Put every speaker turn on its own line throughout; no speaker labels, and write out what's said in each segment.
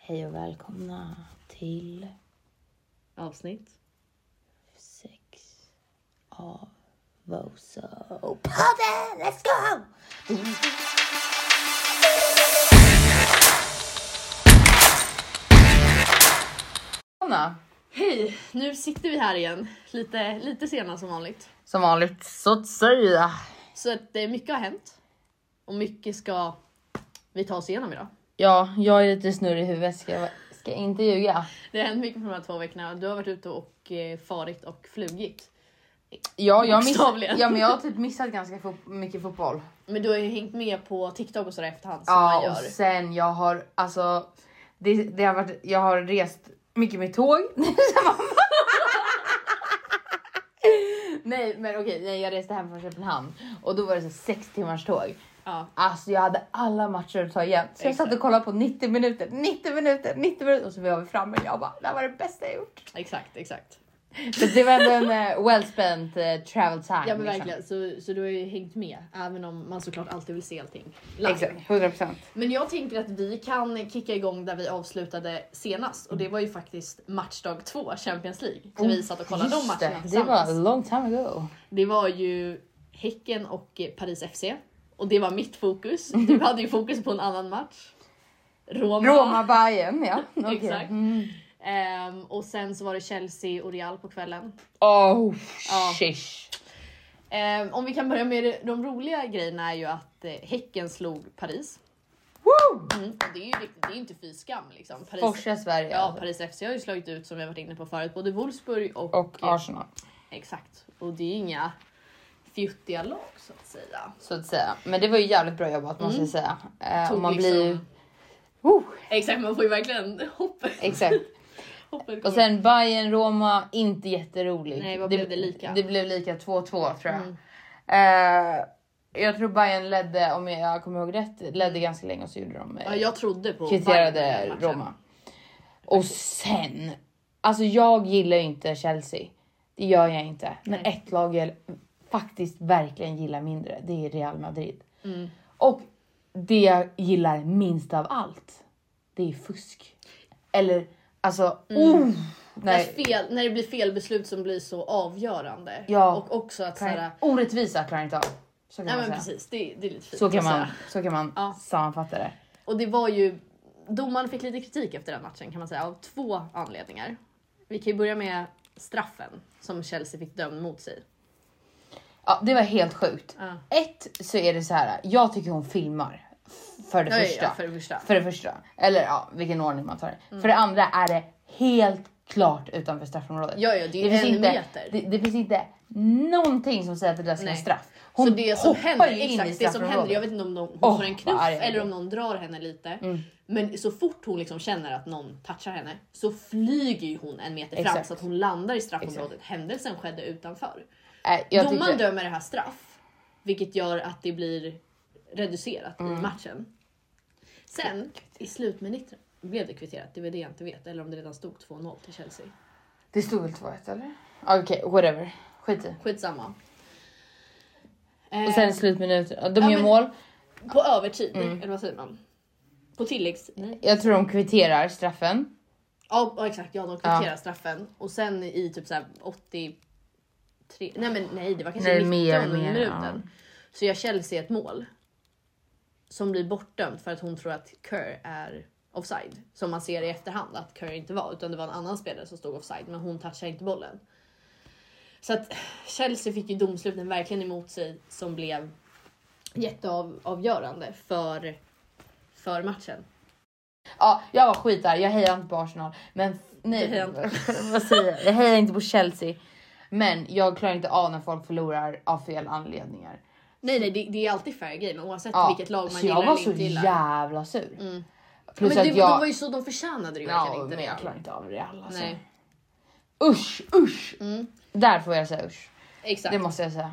Hej och välkomna till
avsnitt.
sex av Voso-podden! Let's go!
Välkomna!
Hej! Nu sitter vi här igen. Lite, lite sena som vanligt.
Som vanligt, så att säga.
Så att eh, mycket har hänt. Och mycket ska vi ta oss igenom idag.
Ja, jag är lite snurrig i huvudet, ska jag, ska jag inte ljuga.
Det har hänt mycket på de här två veckorna. Du har varit ute och eh, farit och flugit.
Ja, jag, miss,
Bokstavligen.
ja, men jag har typ missat ganska fot- mycket fotboll.
Men du har ju hängt med på TikTok och sådär efterhand som man
Ja,
gör.
och sen jag har alltså... Det, det har varit, jag har rest mycket med tåg. nej, men okej, nej, jag reste hem från Köpenhamn och då var det så sex timmars tåg.
Ja.
Alltså jag hade alla matcher att ta igen. Så jag
Exakt.
satt och kollade på 90 minuter, 90 minuter, 90 minuter och så var vi framme och jag bara, det här var det bästa jag gjort.
Exakt, exakt.
Så det var ändå en eh, well spent eh, travel time.
Ja men
liksom.
verkligen. Så, så du har ju hängt med. Även om man såklart alltid vill se allting live.
Exakt, 100 procent.
Men jag tänker att vi kan kicka igång där vi avslutade senast och det var ju faktiskt matchdag två Champions League. När vi satt och kollade de matcherna
det, det var a
tillsammans.
long time ago.
Det var ju Häcken och eh, Paris FC och det var mitt fokus. Du hade ju fokus på en annan match. Roma.
Roma Bayern ja. Okej.
Exakt.
Mm.
Ehm, och sen så var det Chelsea och Real på kvällen.
Oh,
Ja.
shish.
Ehm, om vi kan börja med det- de roliga grejerna är ju att eh, Häcken slog Paris.
Woo!
Mm. och Det är ju riktigt- det är ju inte fy skam liksom. Paris
Forsa Sverige
Ja,
alltså.
Paris FC har ju slagit ut som vi har varit inne på förut, både Wolfsburg och,
och Arsenal
Exakt. Och det är ju inga fjuttiga lag så att säga.
så att säga. Men det var ju jävligt bra jobbat måste jag säga. Eh,
Mm. Tog
och man
liksom-
blir ju... Uh! Woo!
Exakt, man får ju verkligen hoppa.
Exakt.
hoppet
Och
kommer.
sen Bayern Roma, inte jätterolig.
Mm. Nej, vad blev det lika? Mm.
Det blev lika 2-2 tror jag. Eh, jag tror Bayern ledde, om jag kommer ihåg rätt, ledde ganska länge och så gjorde de eh,
Mm. ja, jag trodde på Bayern i
kvitterade
den matchen.
Roma. Och sen, alltså jag gillar ju inte Chelsea. Det gör jag inte. Men
Nej.
ett lag jag faktiskt verkligen gillar mindre, det är Real Madrid.
Mm.
Och det jag gillar minst av allt, det är fusk. Eller alltså,
Mm.
oh,
När,
nej,
fel, när det blir fel beslut som blir så avgörande.
Ja.
Och också att
klarar-
såhär,
orättvisa klarar jag inte av. Så kan
nej men
man säga.
precis, det, det är lite fint
Så kan
att
man,
säga.
så kan man
Ja.
sammanfatta det.
Och det var ju, domaren fick lite kritik efter den matchen kan man säga, av två anledningar. Vi kan ju börja med straffen som Chelsea fick dömd mot sig.
Ja, det var helt sjukt.
Ja.
Ett så är det så här. jag tycker hon filmar. För det
Ja, ja,
första.
ja, för det första. Mm.
För det första. Eller ja, vilken ordning man tar det. För det andra är det helt klart utanför straffområdet.
Ja, ja, det är en
inte,
meter.
Det, det finns inte någonting som säger att det där ska vara
Nej.
straff.
så det som
hoppar
händer,
ju in i
exakt, det som händer,
straffområdet.
jag vet inte om de, hon
Åh,
får en
vad
knuff
arg jag
eller
blir. Mm.
om någon drar henne lite. Men så fort hon liksom känner att någon touchar henne så flyger ju hon en meter fram
Exakt.
så att hon landar i straffområdet. Händelsen skedde utanför.
Nej, Äh, jag
Domaren
tyckte,
dömer det här straff, vilket gör att det blir reducerat
Mm.
i matchen. Sen i slutminuten blev det kvitterat. Det var det jag inte vet. Eller om det redan stod 2-0 till Chelsea.
det stod väl 2-1 eller? Ah, Okej, whatever. Skit i.
Skitsamma. Ehm.
Och sen slutminuter. Ja, De
Eh. Ja,
gör
men-
mål.
På övertid, eller vad säger man? På tilläggs... Nej.
Jag tror de kvitterar straffen.
Ja ja, exakt, ja de kvitterar straffen. Och sen i typ såhär 83... Nej men nej det var kanske
Nej,
19
mer, mer,
minuten. Så jag Chelsea ett mål. Som blir bortdömt för att hon tror att Kerr är offside. Som man ser i efterhand att Kerr inte var utan det var en annan spelare som stod offside men hon touchade inte bollen. Så att Chelsea fick ju domsluten verkligen emot sig som blev jätteavgörande för, för matchen.
Ja, jag var skitarg. Jag hejar inte på Arsenal. Men f-
Jag
nej,
hejar inte.
vad säger jag? Jag hejar inte på Chelsea. Men jag klarar inte av när folk förlorar av fel anledningar.
Nej nej det, det är alltid fair game oavsett
Ja,
vilket lag man
så
gillar
jag var
eller
så
inte gillar. Mm.
jävla sur.
men
Plus
det,
att
de
jag...
var ju så de förtjänade det ju
ja,
verkligen inte
men jag
det.
klarar inte av Real alltså.
Nej, Mm.
Usch, usch! Där får jag säga usch.
exakt.
Det måste jag säga.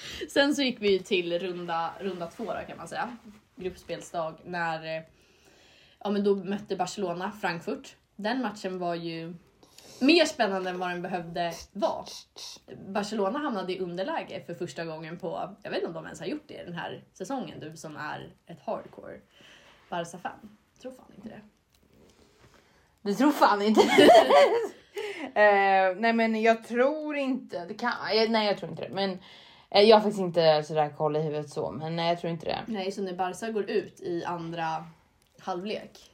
Sen så gick vi ju till runda, runda två då, kan man säga. Gruppspelsdag när eh, ja, men då mötte Barcelona Frankfurt. Den matchen var ju mer spännande än vad den behövde vara. Barcelona hamnade i underläge för första gången på, jag vet inte om de ens har gjort det den här säsongen, du som är ett hardcore Barca-fan. Jag tror fan inte det.
Det tror fan inte. Eh, nej men jag tror inte det kan. eh, Nej jag tror inte det. Men eh, jag har faktiskt inte sådär koll i huvudet så. Men nej jag tror inte det.
Nej, så när Barca går ut i andra halvlek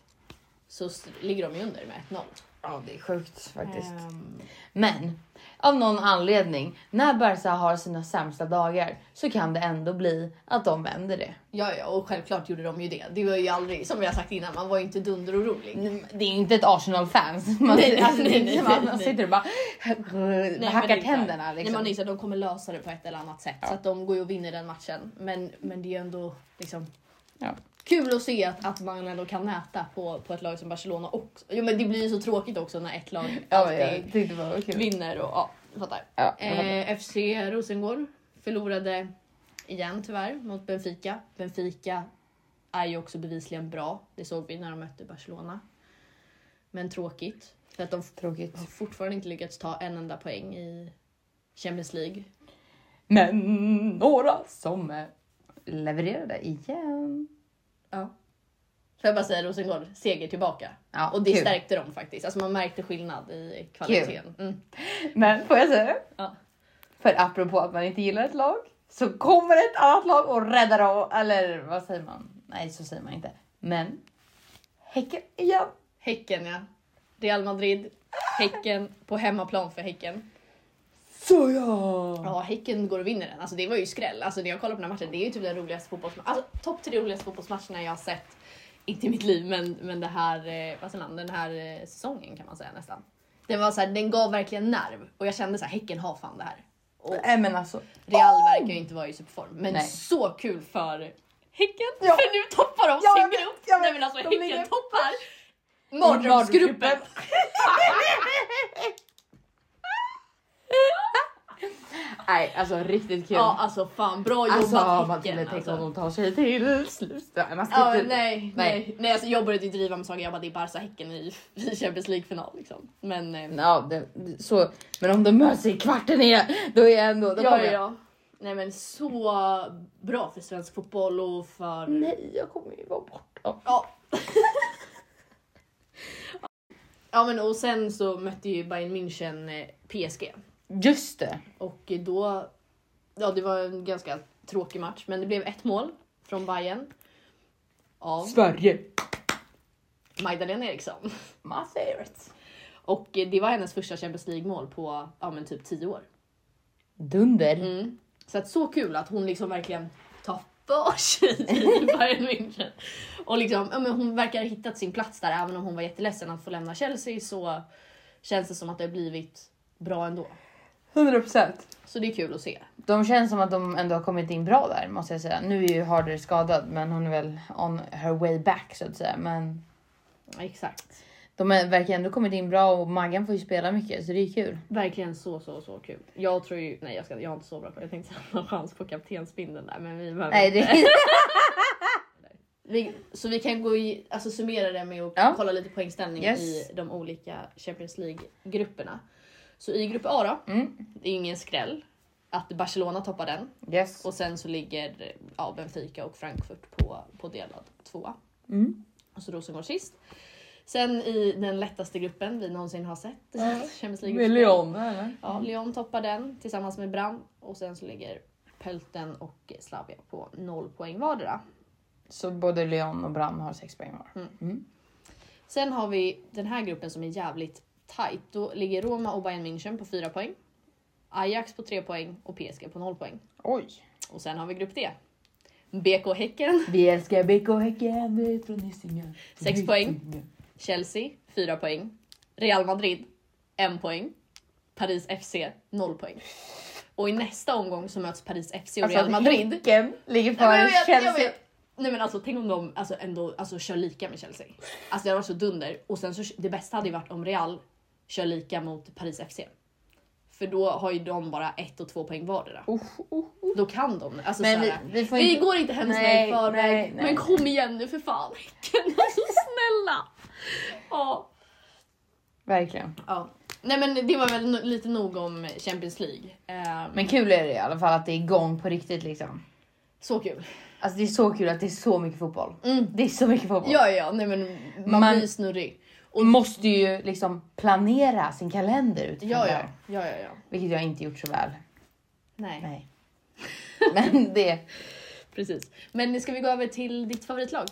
så st- ligger de ju under med 1-0.
Ja det är sjukt faktiskt.
Ehm,
Men av någon anledning när Barca har sina sämsta dagar så kan det ändå bli att de vänder det.
ja, ja, och självklart gjorde de ju det. Det var ju aldrig, som jag sagt innan, man var ju inte dunderorolig.
Det är ju inte ett Arsenal-fans. Man,
Mm. Nej, nej,
alltså, det är inte
nej,
som att
nej,
man
nej.
sitter och bara
Nej, men det
hackar
är klart.
tänderna.
Nej,
Liksom.
man inser att de kommer lösa det på ett eller annat sätt. Så att de går ju och vinner den matchen. Men, men det är ju ändå liksom
Ja.
kul att se att, att man ändå kan mäta på, på ett lag som Barcelona också. Jo, men det blir ju så tråkigt också när ett lag
Ja,
alltid
jag tyckte det var kul.
vinner och ja, du fattar.
Ja, jag fattar.
Eh, FC Rosengård förlorade igen tyvärr mot Benfica. Benfica är ju också bevisligen bra. Det såg vi när de mötte Barcelona. Men tråkigt. För att de
Tråkigt.
har fortfarande inte lyckats ta en enda poäng i Champions League.
Men några som eh, levererade igen.
Ja. Får jag bara säga Rosengård, seger tillbaka.
Ja,
och det
kul.
stärkte dem faktiskt. Alltså man märkte skillnad i kvaliteten. Mm.
Men får jag säga?
Ja.
För apropå att man inte gillar ett lag så kommer ett annat lag och räddar av. Eller vad säger man? Nej, så säger man inte. Men Häcken igen.
Häcken ja. Real Madrid, Häcken på hemmaplan för Häcken.
Så ja!
Ja, Häcken går och vinner den. Alltså det var ju skräll. Alltså när jag kollar på den här matchen, det är ju typ den roligaste fotbollsmatchen. Alltså topp tre roligaste fotbollsmatcherna jag har sett. Inte i mitt liv, men, men det här, eh, vad säger man, den här eh, säsongen kan man säga nästan. Den var så här, den gav verkligen nerv och jag kände så här, Häcken har fan det här. Och
Nej men alltså.
Real verkar ju inte vara i superform, men
Nej.
så kul för Häcken!
Ja.
För nu toppar de
Ja, jag
sin
vet,
grupp!
jag
Nej
vet.
men alltså
De
Häcken
ligger-
toppar mardrömsgruppen!
Nej, alltså riktigt kul.
Ja alltså fan, bra jobbat
alltså
Häcken!
Matilda, tänk
alltså.
om de tar sig till slut. Nej, man ska
Ja,
inte-
Typ- nej, nej.
Nej.
nej alltså jag började inte driva med saker, jag bara det är Barca Häcken i, i Champions League-final. Liksom. Men eh,
Ja, det, så, men om de möts i kvarten igen, då är jag ändå... Då
ja,
kommer
ja.
jag.
Nej men så bra för svensk fotboll och för...
Nej, jag kommer ju vara borta.
Ja. ja men och sen så mötte ju Bayern München eh, PSG.
Just det.
Och då... Ja det var en ganska tråkig match men det blev ett mål från Bayern. Av
Sverige.
Magdalena Eriksson.
My favorite.
Och eh, det var hennes första Champions League-mål på ja, men typ 10 år.
Dunder.
Mm. Så att så kul att hon liksom verkligen tar för sig i Bayern München. Och liksom, ja, men hon verkar ha hittat sin plats där, även om hon var jätteledsen att få lämna Chelsea så känns det som att det har blivit bra ändå.
100%.
Så det är kul att se.
De känns som att de ändå har kommit in bra där måste jag säga. Nu är ju Harder skadad men hon är väl on her way back så att säga. Men
Ja, exakt.
de är, verkar ändå kommit in bra och Maggan får ju spela mycket så det är kul.
Verkligen så, så, så kul. Jag tror ju... Nej, jag, ska, jag har inte så bra koll. Jag tänkte att jag har chans på kaptensbindeln där, men vi behöver
Nej,
inte.
det,
Vi, så vi kan gå i, alltså summera det med att
Ja.
kolla lite poängställning
Yes.
i de olika Champions League-grupperna. Så i grupp A då,
Mm.
det är ingen skräll att Barcelona toppar den
yes.
och sen så ligger ja, Benfica och Frankfurt på, på delad tvåa.
Mm.
Och så Rosengård sist. Sen i den lättaste gruppen vi någonsin har sett.
Mm.
Champions League.
eller?
Ja, Lyon toppar den tillsammans med Bram och sen så ligger Pölten och Slavia på noll poäng vardera.
Så både Leon och Bram har sex poäng var.
Sen har vi den här gruppen som är jävligt tight. Då ligger Roma och Bayern München på 4 poäng. Ajax på 3 poäng och PSG på 0 poäng.
Oj.
Och sen har vi grupp D. BK Häcken
Vi älskar BK Häcken, vi är från Hisingen.
Sex poäng. Chelsea 4 poäng. Real Madrid 1 poäng. Paris FC 0 poäng. Och i nästa omgång så möts Paris FC och
Alltså
Real
att
Madrid.
Häcken ligger
Nej, men
före
jag vet, jag
Chelsea.
vet. Nej men alltså tänk om de alltså, ändå alltså, kör lika med Chelsea. Alltså det hade varit så dunder. Och sen så det bästa hade ju varit om Real kör lika mot Paris FC. För då har ju de bara ett och två poäng vardera.
Oh, oh, oh.
Då kan de alltså,
Men
såhär,
vi- vi får inte-
går inte hennes
Nej,
väg i förväg.
nej, nej.
Men kom igen nu för fan. alltså snälla. Ja.
Verkligen.
Ja. Nej men det var väl no- lite nog om Champions League. Eh,
Men kul är det i alla fall att det är igång på riktigt liksom.
så kul.
Alltså det är så kul att det är så mycket fotboll.
Mm.
Det är så mycket fotboll.
Ja ja, nej men man,
Man-
blir snurrig.
Och måste ju liksom planera sin kalender utifrån
Ja,
det
ja,
här,
ja, ja, ja.
Vilket jag inte gjort så väl.
Nej.
Nej. Men det...
precis. Men ska vi gå över till ditt favoritlag?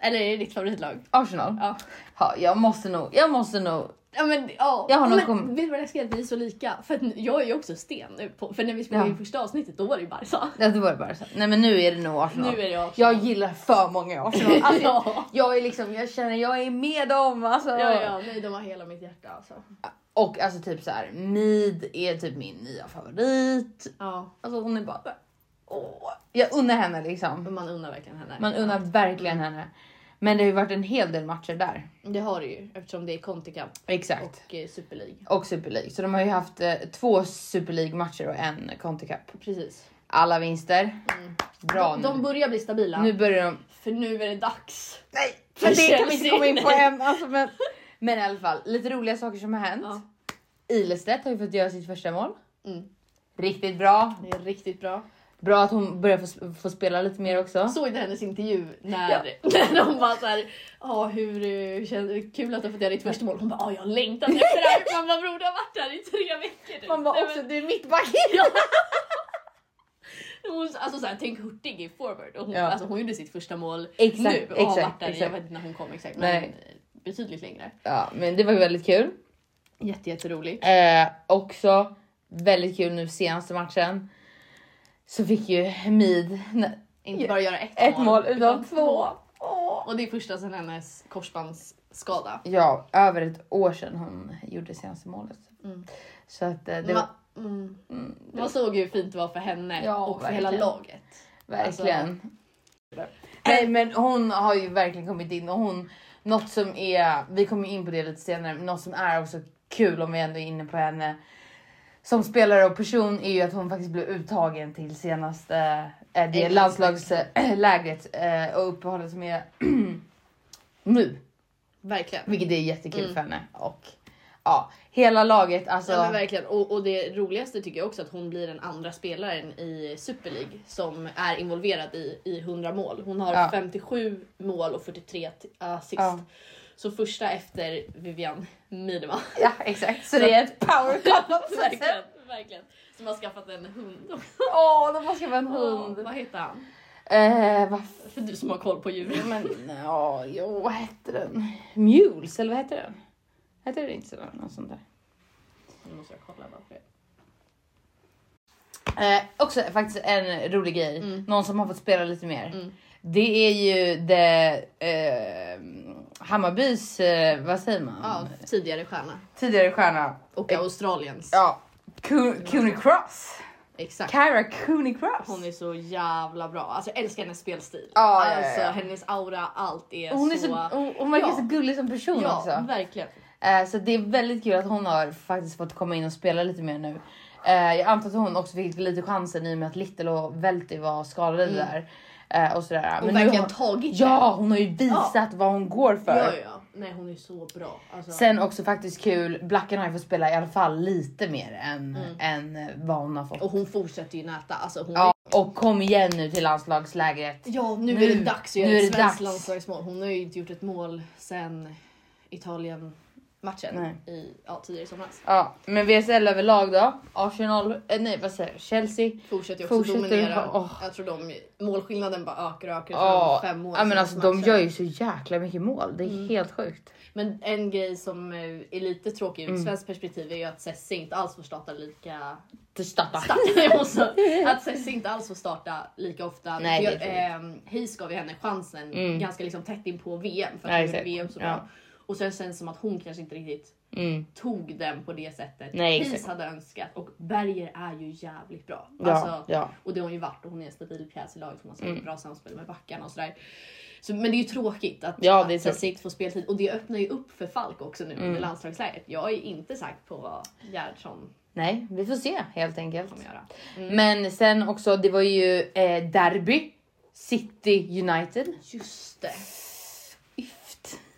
Eller är det ditt favoritlag?
Arsenal?
Ja.
Ja, jag måste nog... Jag måste nog...
Ja men ja.
Jag har nog
men,
kommit-
Vet du vad läskigt att vi är så lika? För att nu- jag är ju också sten nu. På, för när vi spelade
Ja.
in första avsnittet då var det ju Barca.
Ja, Det var det bara så. Nej men nu är det nog Arsenal.
Nu är det Arsenal.
Jag gillar för många Arsenal. Alltså,
Ja.
Jag är liksom, jag känner jag är med dem alltså.
Ja, ja, nej de har hela mitt hjärta alltså.
Och alltså typ så här, Mid är typ min nya favorit.
Ja,
Alltså hon är bara... Åh. Jag unnar henne liksom.
men man undrar verkligen henne.
Man unnar verkligen henne. Men det har ju varit en hel del matcher där.
Det har det ju eftersom det är Contikamp
Exakt.
och eh, Super League.
Och Super League. Så de har ju haft eh, två Super League-matcher och en Conti Cup.
Precis.
Alla vinster. Bra
De,
nu.
de börjar bli stabila.
nu börjar de...
För nu är det dags.
Nej! Men det kan vi inte
Chelsea.
komma in på än. Alltså, men... men i alla fall, lite roliga saker som har hänt.
Ja.
Ilestedt har ju fått göra sitt första mål.
Mm.
Riktigt bra.
Det är riktigt bra.
Bra att hon börjar få, få spela lite mer också.
Såg du hennes intervju när, när de bara såhär, ja hur, eh, hur känns, kul att du har fått göra ditt första mål. Hon bara, ja jag har längtat efter det här. Man bara bror du har varit här i tre veckor nu.
Man bara
Nej,
också,
men-
du är mittback!
hon, alltså såhär, tänk Hurtig i forward. Och hon,
Ja.
alltså, hon gjorde sitt första mål
Exakt,
nu och har
exakt,
varit där, jag
exakt.
vet inte när hon kom exakt men
Nej.
eh, betydligt längre.
Ja, men det var ju väldigt kul.
Jätte, jätteroligt.
Eh, också väldigt kul nu senaste matchen. Så fick ju Hamid nä-
Inte bara göra ett,
ett mål utan två.
Och det är första sedan hennes korsbandsskada.
Ja, över ett år sedan hon gjorde senaste målet.
Mm.
Så att eh, det
Det
var
mm.
mm,
Man såg ju hur fint det var för henne
Ja,
och för
verkligen.
hela laget.
verkligen. Alltså, Nej,
Äh.
men hon har ju verkligen kommit in och hon något som är. Vi kommer ju in på det lite senare, men något som är också kul om vi ändå är inne på henne som spelare och person är ju att hon faktiskt blev uttagen till senaste eh, det
Exakt.
landslagslägret eh, och uppehållet som är nu,
Verkligen.
vilket är jättekul för henne och ja, hela laget alltså.
Mm. Ja, men verkligen. Och, och det roligaste tycker jag också att hon blir den andra spelaren i Super League som är involverad i, i 100 mål. Hon har
Ja.
57 mål och 43 t- assist.
Ja.
Så första efter Vivian Miedema.
Ja exakt, så det är ett power couple.
verkligen, verkligen. Som har skaffat en hund.
Åh, de måste vara en
Hund.
hund.
vad heter han?
Eh, vad f-
För du som har koll på djur.
men ja, jo, vad hette den? Mules eller vad hette den? Hette det inte så? Något sånt där.
Nu måste jag kolla bara för det.
Eh, också faktiskt en rolig grej,
Mm.
någon som har fått spela lite mer.
Mm.
Det är ju det eh, Hammarbys, eh, vad säger man?
Ja, tidigare stjärna.
Tidigare stjärna.
Och Australiens.
Ja, Cooney Cooney Cross.
Exakt.
Kyra Cooney Cross.
Hon är så jävla bra. Alltså jag älskar hennes spelstil.
Ja, ja, ja,
alltså
ja.
hennes aura, allt är
hon, är
så...
så, hon, hon verkar
Ja.
så gullig som person
ja,
också.
verkligen.
Eh, så det är väldigt kul att hon har faktiskt fått komma in och spela lite mer nu. Eh, jag antar att hon också fick lite chansen i och med att Little och Velty var skadade
Mm.
där. Eh, och sådär.
Hon
nu
verkligen
har-
tagit
Ja, hon har ju visat vad hon går
det.
för.
Ja, ja. Nej, hon är så bra. Alltså,
Sen också faktiskt kul, Blacken har ju fått spela i alla fall lite mer än,
Mm.
än vad hon har fått.
och hon fortsätter ju näta. Alltså, hon
Ja, och kom igen nu till landslagslägret.
ja nu,
Nu-
är det dags att
nu
göra
är
ett
det
svenskt
dags.
landslagsmål. Hon har ju inte gjort ett mål sen Italien-matchen
Nej.
i, ja, tidigare i somras.
Ja, men VSL överlag då? Arsenal, eh, nej vad säger jag? Chelsea?
Fortsätter ju också
Fortsätter
dominera.
bara- åh.
Jag tror de, målskillnaden bara ökar och ökar. Jag tror de
Ja,
har fem mål
ja men
senaste
alltså de
matchen. Mm.
gör ju så jäkla mycket mål. Det är helt sjukt.
Men en grej som eh, är lite tråkig
Mm.
ur ett svenskt perspektiv är ju att Sessi inte alls får starta lika...
Det startar.
Starta, jag måste- att Sessi inte alls får starta lika ofta.
Nej, det är Mm.
Jag- ehm, Hayes gav ju henne chansen ganska liksom tätt in på VM för att
Ja,
hon gjorde
exakt.
VM så
Ja.
bra. Och sen känns det som att hon kanske inte riktigt
Mm.
tog den på det sättet
Nej,
Hayes
exakt.
hade önskat. Och Berger är ju jävligt bra.
Ja,
Alltså,
ja.
Och det har hon ju varit och hon är en stabil pjäs i laget. Hon har mm. bra samspel med backarna och sådär. Så, men det är ju tråkigt att,
Ja, det är
att Sessi
tråkigt. Mm.
inte får speltid. Och det öppnar ju upp för Falk också nu med landslagsläget. Jag är inte säker på vad Gerhardsson
Nej, vi får se helt enkelt.
kommer göra.
Men sen också, det var ju eh, derby. City United.
Just det.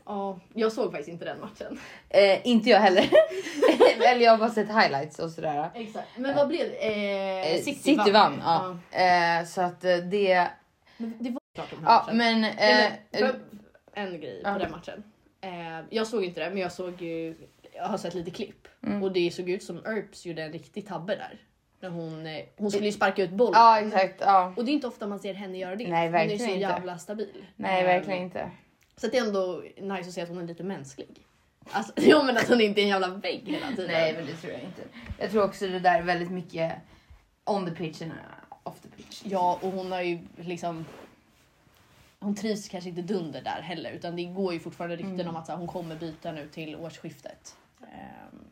Ja, jag såg faktiskt inte den matchen.
Eh, inte jag heller. Eller jag har bara sett highlights och sådär.
Exakt. Men vad blev det? Eh,
Eh, City, vann. ja. Eh, så att eh, det...
Men det var klart de här
Ja,
matchen.
men... Eh,
Eller,
eh,
för- en grej
ja.
på den matchen. Eh, jag såg inte det, men jag såg ju, jag har sett lite klipp.
Mm.
Och det såg ut som Earps gjorde en riktig tabbe där. När hon, eh, hon skulle ju sparka ut bollen.
Ja exakt. Ja.
Och det är inte ofta man ser henne göra det.
Nej,
hon är ju
verkligen
så
inte.
jävla stabil.
Nej
Eh,
verkligen inte.
Så att det är ändå nice att se att hon är lite mänsklig. Alltså, jo men att hon inte är en jävla vägg hela tiden.
Nej men det tror jag inte. Jag tror också det där är väldigt mycket on the pitch and off the pitch.
Ja, och hon har ju liksom... Hon trivs kanske inte dunder där heller, utan det går ju fortfarande rykten om att så här, hon kommer byta nu till årsskiftet. Ehm,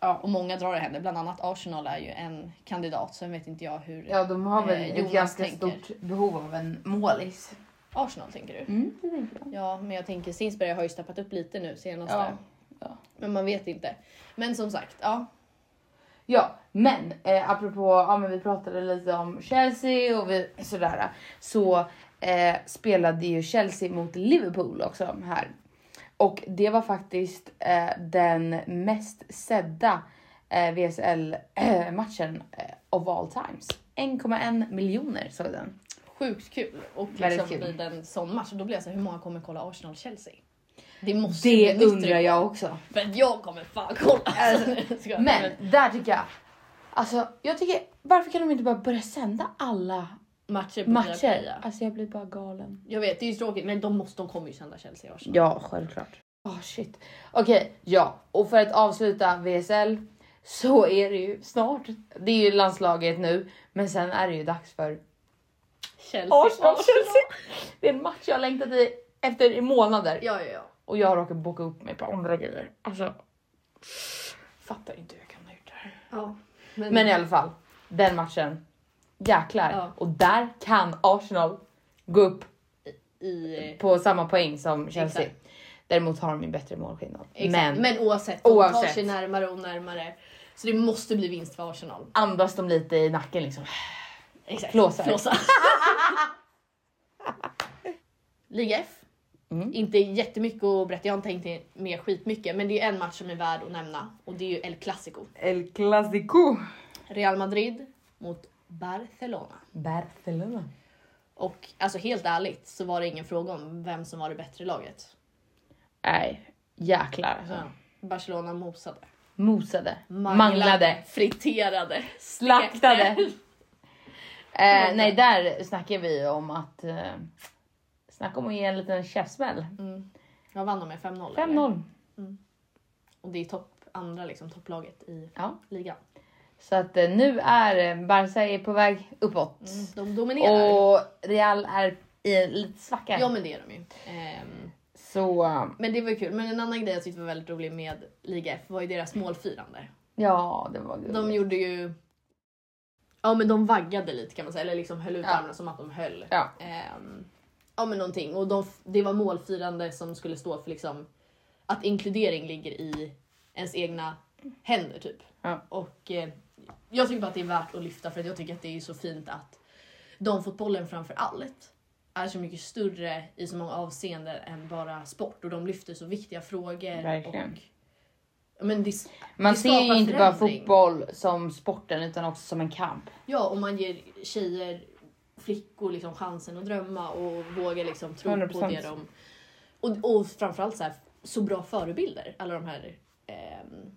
ja, och många drar i henne, bland annat Arsenal är ju en kandidat, sen vet inte jag hur...
Ja de har väl
Eh,
ett
Jonas
ganska
tänker.
stort behov av en målis.
Arsenal tänker du?
Mm, det tänker jag.
Ja, men jag tänker Sinsberg har ju steppat upp lite nu senaste.
Ja, ja.
Men man vet inte. Men som sagt, ja.
Ja, men eh, apropå, ja men vi pratade lite om Chelsea och vi, sådär. Så eh, spelade ju Chelsea mot Liverpool också här. Och det var faktiskt eh, den mest sedda eh, VSL-matchen eh, of all times. 1,1 miljoner såg den.
Sjukt kul. Och liksom
Väldigt kul.
blir det en sån match, då blir jag så här, hur många kommer kolla Arsenal-Chelsea? Det måste ju
Det
bli nytt
undrar jag också.
För att jag kommer fan kolla.
Alltså,
Ska jag-
Men där tycker jag, alltså jag tycker, varför kan de inte bara börja sända alla
matcher på fyra
matcher?
playa.
Alltså jag blir bara galen.
Jag vet, det är ju tråkigt men de, måste, de kommer ju sända Chelsea och Arsenal.
Ja, självklart. Oh, shit. Okej, ja. Och för att avsluta VSL så är det ju snart. Det är ju landslaget nu, men sen är det ju dags för
Chelsea,
Arsenal-Chelsea. Det är en match jag har längtat i efter i månader
Ja, ja, ja.
och jag råkar boka upp mig på andra grejer. Alltså, fattar inte hur jag kan ha gjort det här.
ja.
Men i alla fall, den matchen. Jäklar.
Ja.
Och där kan Arsenal gå upp
i, eh,
på samma poäng som Chelsea.
Exakt.
Däremot har de ju bättre målskillnad.
exakt.
Men
men oavsett, de tar
Oavsett.
sig närmare och närmare. Så det måste bli vinst för Arsenal.
andas de lite i nacken liksom.
Exakt.
Flåsar.
Liga F.
Mm.
Inte jättemycket att berätta, jag har inte tänkt med skitmycket. Men det är en match som är värd att nämna och det är ju El Clasico.
El Clasico.
Real Madrid mot Barcelona.
Barcelona.
Och alltså helt ärligt så var det ingen fråga om vem som var det bättre laget.
Nej, jäklar alltså.
Barcelona mosade.
Mosade, manglade,
Friterade.
slaktade.
stekte.
eh, nej, där snackar vi om att... Eh, snacka om att ge en liten käftsmäll.
Mm. Jag vann de med 5-0. eller?
5-0.
Och det är topp, andra liksom, topplaget i
Ja.
ligan.
Så att eh, nu är eh, Barca är på väg uppåt.
De dominerar.
Mm. Och Real är i en liten svacka.
Ja men det är de ju. Ehm,
Så eh,
men det var ju kul. Men en annan grej jag tyckte var väldigt rolig med Liga F var ju deras
Mm.
målfirande.
ja, det var gulligt.
De gjorde ju... Ja men de vaggade lite kan man säga. Eller liksom höll ut
Ja.
armarna som att de höll.
Ja.
Ehm, ja men någonting. Och de, det var målfirande som skulle stå för liksom att inkludering ligger i ens egna händer typ.
Ja.
Och eh, jag tycker bara att det är värt att lyfta för att jag tycker att det är så fint att damfotbollen framför allt är så mycket större i så många avseenden än bara sport och de lyfter så viktiga frågor.
Verkligen.
Och, Ja, men det,
Man
det
ser ju
skapar
inte bara
förändring.
fotboll som sporten utan också som en kamp.
Ja, och man ger tjejer, flickor liksom chansen att drömma och våga liksom tro på
100%.
det de... Och, och framförallt så, här, så bra förebilder, alla de här ehm,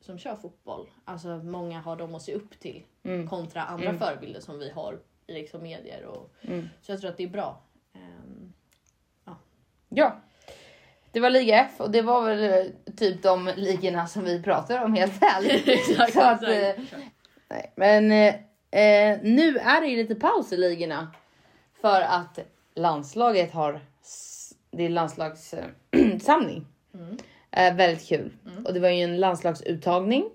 som kör fotboll. Alltså många har dem att se upp till
Mm.
kontra andra
Mm.
förebilder som vi har i liksom medier. Och,
Mm.
Så jag tror att det är bra. Ehm,
Ja. Det var Liga F och det var väl eh, typ de ligorna som vi pratar om helt ärligt.
exakt,
Så att,
exakt.
eh, nej. Men eh, eh, nu är det ju lite paus i ligorna. För att landslaget har, s- det är landslagssamling.
Mm.
Eh, väldigt kul. Och det var ju en landslagsuttagning.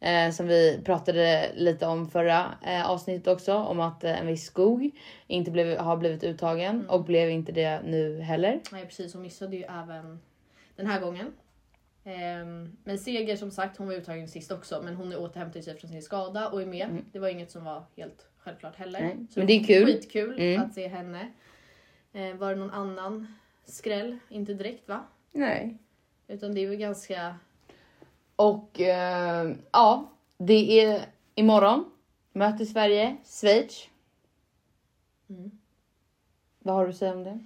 Eh, som vi pratade lite om förra eh, avsnittet också. Om att eh, en viss skog inte blev, har blivit uttagen. Och blev inte det nu heller.
Nej precis, hon missade ju även den här gången. Ehm, men Seger som sagt, hon var uttagen sist också men hon är återhämtad sig från sin skada och är med. Det var inget som var helt självklart heller.
Mm. Nej, men det är kul.
Skitkul
Mm.
att se henne. Ehm, var det någon annan skräll? Inte direkt va?
Nej.
Utan det är väl ganska...
Och eh, ja, det är imorgon. Möter Sverige Schweiz.
Mm.
Vad har du att säga om det?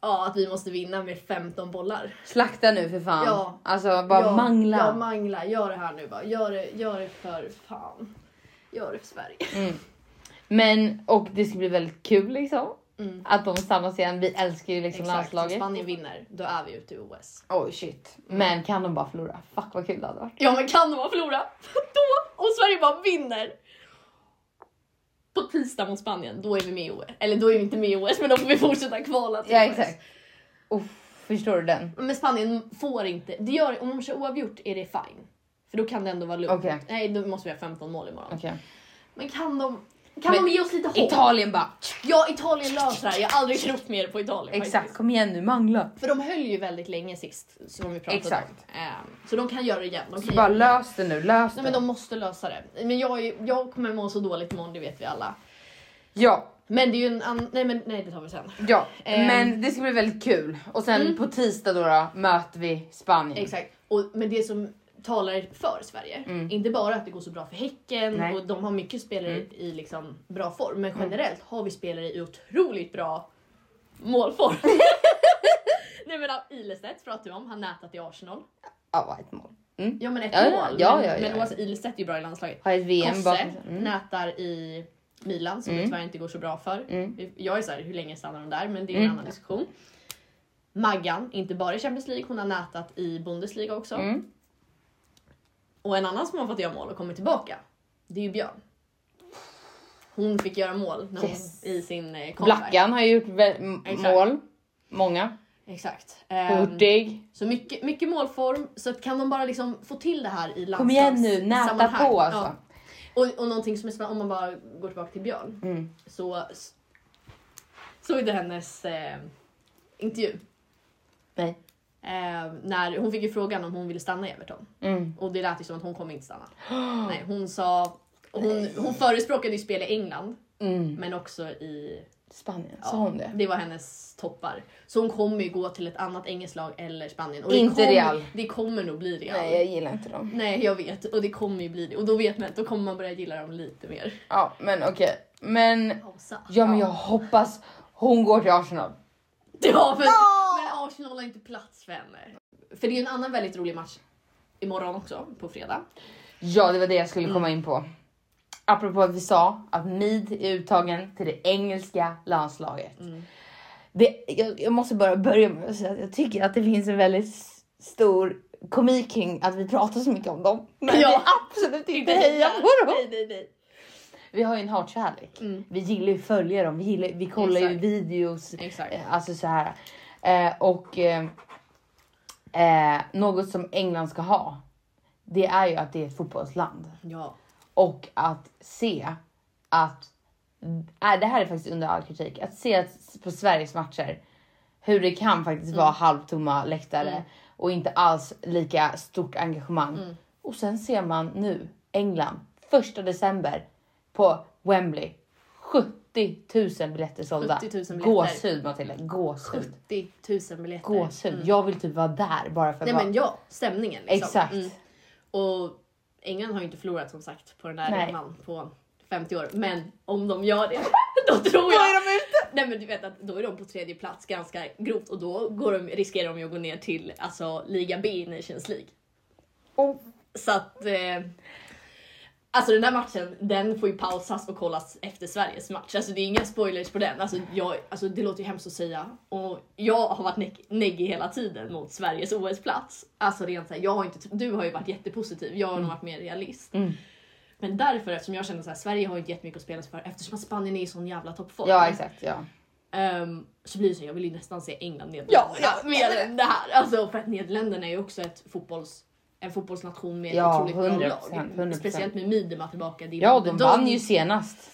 ja, att vi måste vinna med 15 bollar.
Slakta nu för fan.
Ja.
Alltså bara
ja,
mangla.
Ja, mangla. Gör det här nu bara. Gör det, gör det för fan. Gör det för Sverige.
Mm. Men och det ska bli väldigt kul liksom.
Mm.
Att de stannas igen. Vi älskar ju liksom
Exakt. Om
landslaget.
Spanien vinner, då är vi ute i OS.
Oh shit. Men kan de bara förlora? Fuck vad kul det hade varit.
Ja, men kan de bara förlora? då, om Sverige bara vinner på tisdag mot Spanien, då är vi med i OS. Eller då är vi inte med i OS, men då får vi fortsätta kvala till
Ja
OS.
exakt. Uff, förstår du den?
Men Spanien får inte, det gör, om de kör oavgjort är det fine. För då kan det ändå vara lugnt.
Okej.
Nej, då måste vi ha 15 mål imorgon.
Okej.
Men kan de, kan
Men
de ge oss lite hopp?
Italien bara.
ja, Italien löser det här. Jag har aldrig trott mer på Italien
Exakt,
faktiskt.
kom igen nu mangla.
För de höll ju väldigt länge sist, som vi pratade om.
Exakt.
Ehm, så de kan göra det igen. De
Så
kan
bara
göra det igen.
lös det nu, lös
Nej men
det.
de måste lösa det. Men jag, är- jag kommer må så dåligt imorgon, det vet vi alla.
Ja,
Men det är ju en annan... Nej men nej, det tar vi sen.
ja.
Ehm.
Men det ska bli väldigt kul. Och sen på tisdag då, då möter vi Spanien.
Exakt. Och, men det som talar för Sverige, inte bara att det går så bra för Häcken
Nej.
och de har mycket spelare i liksom bra form, men generellt har vi spelare i otroligt bra målform. Nej men Ilestedt pratar vi om, han nätat i Arsenal.
Ja, ett mål. Mm.
Ja men ett
Ja, ja,
mål.
ja,
men
ja, ja,
men
ja.
Åsa Ilestedt är ju bra i landslaget.
Har ett VM
Kosse
bakom sig. Mm.
nätar i Milan som det tyvärr inte går så bra för.
Mm.
Jag är så här, hur länge stannar de där? Men det är en annan diskussion. Maggan, inte bara i Champions League, hon har nätat i Bundesliga också.
Mm.
Och en annan som har fått göra mål och kommit tillbaka, det är ju Björn. Hon fick göra mål när hon,
Yes.
i sin eh, comeback.
Blackan har gjort vä- m-
Exakt.
mål. Många.
Exakt. Ehm,
Hurtig.
så mycket, mycket målform, så att kan de bara liksom få till det här i
Kom igen nu,
landslagssammanhang.
näta på alltså.
Ja. Och, och någonting som är spännande, om man bara går tillbaka till Björn.
Mm.
så s- såg du hennes eh, intervju.
Nej.
Eh, när hon fick ju frågan om hon ville stanna i Everton
Mm.
och det lät ju som att hon kommer inte stanna. Nej, hon sa hon, hon förespråkade ju spel i England
Mm.
men också i...
Spanien,
ja,
sa hon det?
Det var hennes toppar. Så hon kommer ju gå till ett annat engelskt lag eller Spanien. Och det
Inte
kommer,
Real.
Det kommer nog bli Real.
Nej, jag gillar inte dem.
Nej, jag vet. Och det kommer ju bli det. Och då vet man, då kommer man börja gilla dem lite mer.
Ja, men okej. Men,
Pausa.
ja, men jag hoppas hon går till Arsenal.
Ja, för, men Arsenal har inte plats för henne. För det är ju en annan väldigt rolig match imorgon också, på fredag.
Ja, det var det jag skulle komma in på. Apropå att vi sa att Mid är uttagen till det engelska landslaget. Det, jag, jag måste bara börja med att säga att jag tycker att det finns en väldigt s- stor komik kring att vi pratar så mycket om dem. Men
Ja.
vi absolut inte hejar på dem.
Nej, nej, nej.
Vi har ju en hatkärlek.
Mm.
Vi gillar ju att följa dem. Vi, gillar, vi kollar ju
Exakt.
videos.
Exakt.
Eh, Alltså så här. Eh, och eh, eh, något som England ska ha. Det är ju att det är ett fotbollsland
Ja.
och att se att äh, det här är faktiskt under all kritik. Att se att på Sveriges matcher hur det kan faktiskt vara halvtomma läktare
Mm.
och inte alls lika stort engagemang.
Mm.
Och sen ser man nu England första december på Wembley. 70 000 biljetter sålda.
70 000 biljetter.
Gåshud Matilda, gåshud.
70 000 biljetter.
Gåshud.
Mm.
Jag vill typ vara där bara för att
Nej
vara...
men ja, stämningen. Liksom.
Exakt.
Mm. Och England har ju inte förlorat som sagt på den där
Nej.
arenan på 50 år. Men om de gör det, då tror jag...
de ute!
Nej men du vet att då är de på tredje plats ganska grovt och då går de, riskerar de ju att gå ner till alltså, liga B i Nations League. Mm.
Oh.
Så att... Eh, alltså den där matchen, den får ju pausas och kollas efter Sveriges match. Alltså det är inga spoilers på den. Alltså, jag, alltså det låter ju hemskt att säga. Och jag har varit neg- neggig hela tiden mot Sveriges OS-plats. Alltså rent så här, jag har inte, du har ju varit jättepositiv, jag har nog varit mer realist.
Mm.
Men därför, eftersom jag känner så här, Sverige har ju inte jättemycket att spela sig för eftersom att Spanien är i sån jävla toppform.
Ja exakt, ja.
Ehm, så blir det så, jag vill ju nästan se England Nederländerna
Ja, ja,
mer än det här. Alltså, för att Nederländerna är ju också ett fotbolls, en fotbollsnation med
Ja,
ett otroligt
100%,
bra lag.
100%.
Speciellt med Miedema tillbaka. Det är
Ja, de vann ju senast.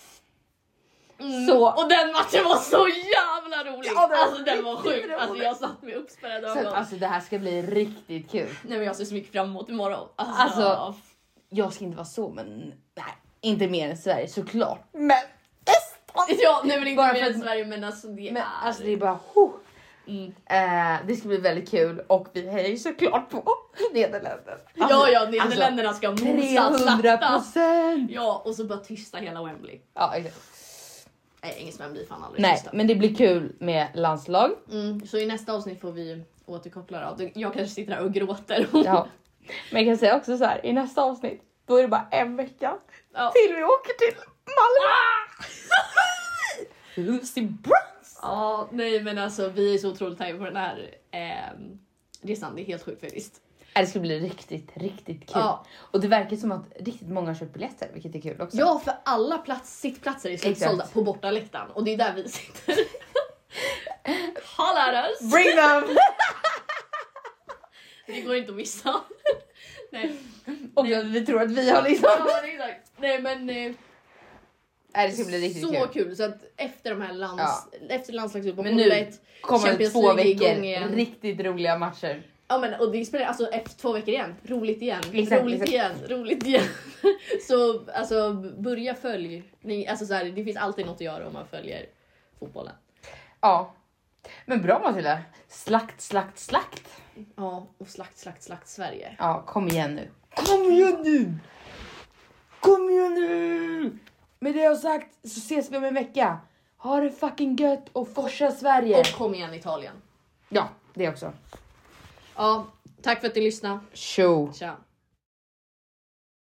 Mm,
så-
Och den matchen var så jävla rolig!
Ja, den var
alltså den var
riktigt
sjuk. Alltså,
rolig.
jag satt med uppspärrade
Så att,
ögon.
alltså det här ska bli riktigt kul.
Nej, men jag ser så mycket fram emot imorgon. Alltså,
Alltså- Jag ska inte vara så men nej, inte mer än Sverige såklart. Men nästan!
ja, nej, men inte
Bara
mer
för
än
att-
Sverige men alltså det
Men
är...
alltså det är bara huh.
Mm.
eh, Det ska bli väldigt kul och vi hejar ju såklart på Nederländerna.
ja, ja, Nederländerna ska mosa,
300
slaktas.
Alltså, procent!
Ja, och så bara tysta hela Wembley.
Ja, exakt.
Nej, engelsmän blir fan aldrig
Nej,
bästa.
men det blir kul med landslag.
Mm, så i nästa avsnitt får vi återkoppla då. Jag kanske sitter här och gråter.
Ja. Men jag kan säga också så här, i nästa avsnitt då är det bara en vecka
Ja. Ah!
till vi åker till Malmö. Lucy Bronze!
Ja, nej men alltså vi är så otroligt taggade på den här eh, resan. Det är helt sjukt faktiskt.
Ja, Äh, Det ska bli riktigt, riktigt kul.
Ja.
Och det verkar som att riktigt många har köpt biljetter, vilket är kul också.
Ja, för alla plats, sittplatser är slutsålda
Exakt.
på bortaläktaren och det är där vi sitter. Holla at us!
Bring them!
Det går inte att missa. nej.
Och att vi tror att vi har liksom...
Ja, men exakt. nej men eh,
Nej, det ska bli riktigt
så
kul.
kul. Så att efter de här lands, efter landslagsuppehållet.
Men nu Kommer det
Champions
två
League är
veckor
igång igen.
riktigt roliga matcher.
Ja men och det spelar alltså efter två veckor igen. Roligt igen.
Exakt,
roligt
exakt.
igen. Roligt igen. så alltså börja följ. Ni, alltså så här, det finns alltid något att göra om man följer fotbollen.
Ja. Men bra Matilda. Slakt, slakt, slakt.
Ja och slakt, slakt, slakt Sverige.
Ja, kom igen nu. Kom igen nu! Kom igen nu! Med det jag sagt så ses vi om en vecka. Ha det fucking gött och forsa Sverige.
Och kom igen Italien.
Ja, det också.
Ja, tack för att ni lyssnade.
Show.
Tja.